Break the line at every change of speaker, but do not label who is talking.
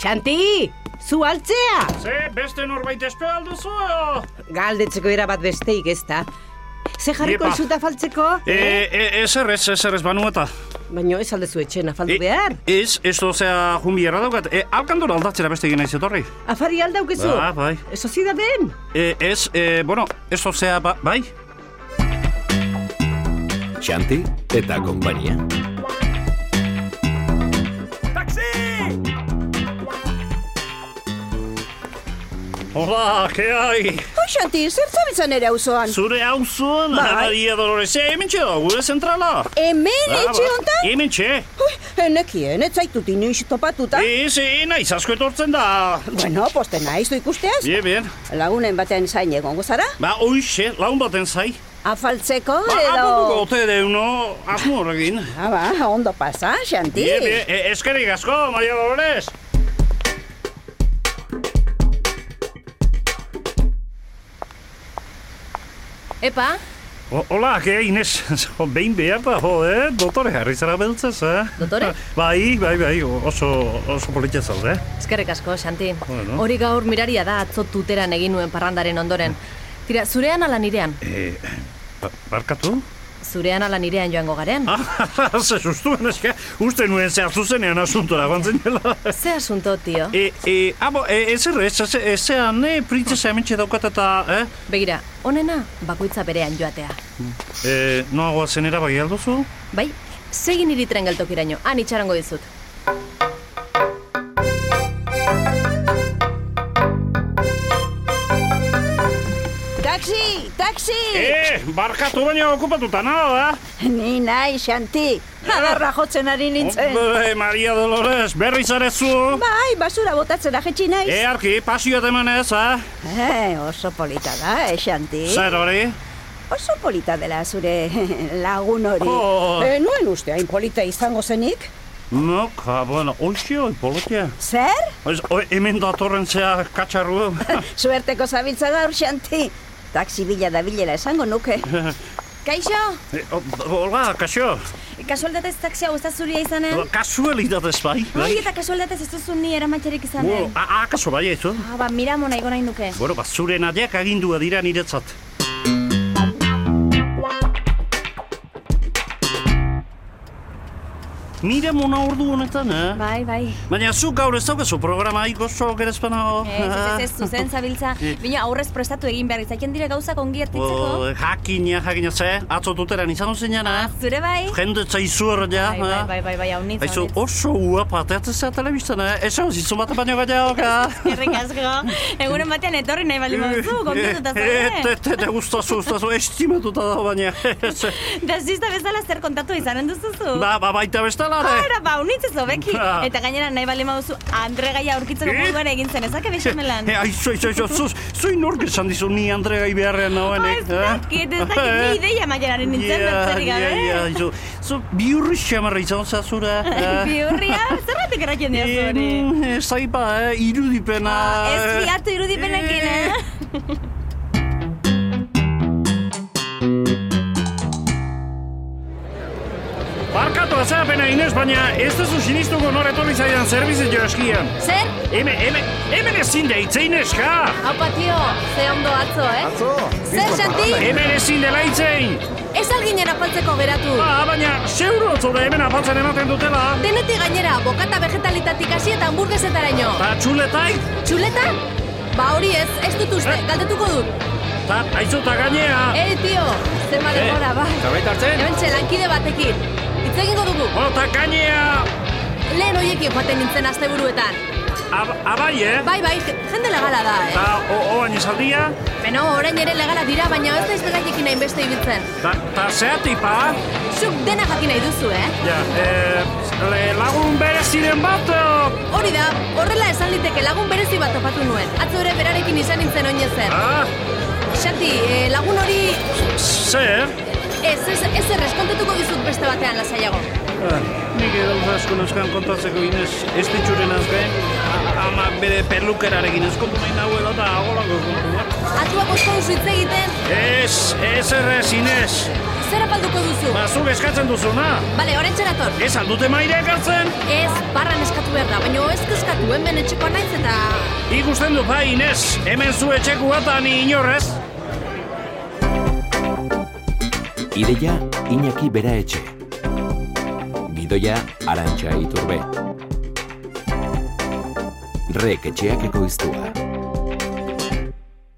Xanti, zu altzea!
Ze, beste norbait espero alduzu?
Galdetzeko erabat besteik ez da. Ze jarriko
Iepa.
izut afaltzeko?
E, e, ezer ez, ezer ez banu eta.
Baina ez aldezu etxen afaldu
E,
behar.
Ez, ez dozea jumbiera daukat. E, alkandora aldatzera beste egin nahi zetorri.
Afari aldaukezu?
Ba, bai.
Soziedaden?
E, ez, e, bueno, ez dozea, ba, bai?
Xanti eta konpainia.
Hola, ke hai?
Hoi, Xanti, zer zabiltzan ere auzoan?
Zure hauzun,
Bai.
Maria Dolores, hemen txela, gure zentrala.
Hemen
Ah, Ba,
etxe hontan?
Hemen txe.
Ui, enekien, ez zaitut inoiz topatuta.
Ez, e, naiz asko etortzen da.
Bueno, poste naiz du ikusteaz.
Bien, bien.
Lagunen batean zain egongo zara?
Ba, oixe, laun baten zai.
Afaltzeko
Ba, apurtuko
edo...
ote deuno, asmo horrekin.
Ah, ba, ondo pasa, Xanti.
Bien, bien, e, eskerrik asko, Maria Dolores.
Epa,
O, hola, ke Ines, Jo, behin behar da, jo, eh? Dotore jarri zara beltzaz, eh?
Dotore?
Ah.
Bai, bai, bai, oso, oso politia zaude. eh?
eskerrik asko, Xanti.
Bueno.
Hori gaur miraria da atzo tuteran egin nuen parrandaren ondoren. Tira, zurean ala nirean?
Eh, ba- barkatu?
Zurean ala nirean joango garen?
Ah, ze sustuen eske, uste nuen zehaztu zenean asuntora bantzinela.
Ze asunto, tio?
Eh.
E, e, abo, e, ez erre, ez, ez, ez zean, e, printzesa hementxe daukat eta, eh?
Begira, onena bakoitza berean joatea.
E, noagoa zenera bai alduzu?
Bai, segin iritren geltokiraino, han itxarango dizut.
Taxi, taxi!
E, barkatu baina okupatuta eh? nada da.
Ni nahi, Xanti. Adarra jotzen ari nintzen.
Hombre, Maria Dolores, berri zarezu.
Bai, basura botatzera jetxi naiz.
E, arki, pasioa teman ez, eh?
Eh, oso polita da, eh, Xanti.
Zer hori?
Oso polita dela zure lagun hori.
Jo.
Eh, nuen uste hain polita izango zenik?
No, ka, bueno, oixi, oi, polotia.
Zer?
Oiz, oi, hemen datorren zea katxarru.
Suerteko zabiltza gaur, Xanti. Taxi bila da bilela esango nuke.
Kaixo,
E, o- Hola, kaxo.
kasualdatez taxia guzta zuria
Ba,
izanen?
Kasualitatez bai.
Hori eta kasualdatez ez duzu ni eramatxerik
Bueno, a- akaso bai, ez,
Ah, ba, miramona igo nahi nuke.
Bueno, ba, zure nadiak agindua dira niretzat. Nire mona ordu honetan, eh?
Bai, bai.
Baina zu gaur ez daukazu programa iko zo gerezpanago.
Eh, Ez, ez, ez, zuzen zabiltza. Bina aurrez prestatu egin behar izaten dire gauzak ongi ertitzeko.
O, jakina, jakina, ze, atzo tuteran izan zinen, eh?
Zure bai?
Jende zaizu hor, ja,
Bai, bai,
eh?
bai, bai, bai, hau nintzen.
Aizu, oso ua pateatzen zea telebistan, eh? Eso, zizu bat baino gaiago, ka?
Errik asko. Egunen batean etorri nahi baldin baduzu, kontatuta
Eh,
zaude.
te, te, gustazu, gustazu, estimatuta da, baina. ez.
Eh. Dasista bezala zer kontatu izanen duzuzu.
Ba, ba, baita bestala, de.
Ara, ba, unitzez hobeki.
Ba.
Eta gainera nahi baldin baduzu, Andre gaia aurkitzeko
Eh?
moduan egin zen, ezake bexamelan.
E, aizu, aizu, aizu, zu, zu inork esan dizu ni Andregai beharrean nagoenek.
Oh, Ez dakit, ez dakit, ni ideia maialaren nintzen, eh?
eh?
bertzerik
Ja,
gabe.
aizu, zu biurri xamarra izan zazura.
Biurria, zerratik erratzen dira hori.
Ez zaipa, eh, irudipena.
Ah, Ez
eh.
fiatu irudipenekin,
Eh.
eh?
Barkatu azapena Inez, baina ez duzu sinistuko nor etorri zaidan zerbizitio eskian.
Zer?
Hemen, hemen, hemen ezin da hitze Inez, ka?
Haupa, tio, ze ondo atzo, eh?
Atzo,
Zer, Xanti?
Hemen ezin dela hitzein.
Ez alginen apaltzeko geratu.
Ba, baina, zeuro zure hemen apatzen ematen dutela.
Denetik gainera, bokata vegetalitatik hasi eta hamburgesetaraino.
Ta txuletai,
Txuleta? Ba hori ez, ez dut uste, galdetuko dut.
ta aizu ta gainea.
Ei, tio, zenba
Eh.
denbora, bai.
zerbait hartzen?
Hemen lankide batekin. Hitz egingo dugu,
O, ta gainea.
lehen hoiekin joaten nintzen asteburuetan.
Ab, abai, eh?
Bai, bai, je- jende legala da, eh?
Ta, o, oan izaldia.
Beno, orain ere legala dira, baina ez naiz beraiekin hain beste ibiltzen.
Ta, ta zeatipa.
Zuk dena jakin nahi duzu, eh?
Ja, eh, le- lagun bereziren bat, eh,
Hori da, horrela esan liteke lagun berezi bat topatu nuen. Atzo ere berarekin izan nintzen oinezen.
ah,
Xanti, eh, lagun hori
zer?
Ez, ez, ez errez, kontatuko dizut beste batean lasaiago.
Ah, Nik gauza asko neuzkan kontatzeko Inez ez ditxuren azkain, ama bere perlukerarekin ezkontu nahi nahuela eta agolako kontu bat.
Atua bosko duzu hitz egiten,
Ez, ez errez Inez,
zer apalduko duzu?
bazuk eskatzen duzuna,
Bale, orain txerator.
ez aldute maire ekartzen?
Ez, barran eskatu behar da, baina ez kezkatu. du hemen etxekoa naiz eta...
Ikusten dut, bai, Ines, hemen zu etxekua eta ni inorrez.
Ideia Iñaki Bera Etxe. Gidoia Arantxa Iturbe. Rek etxeak ekoiztua.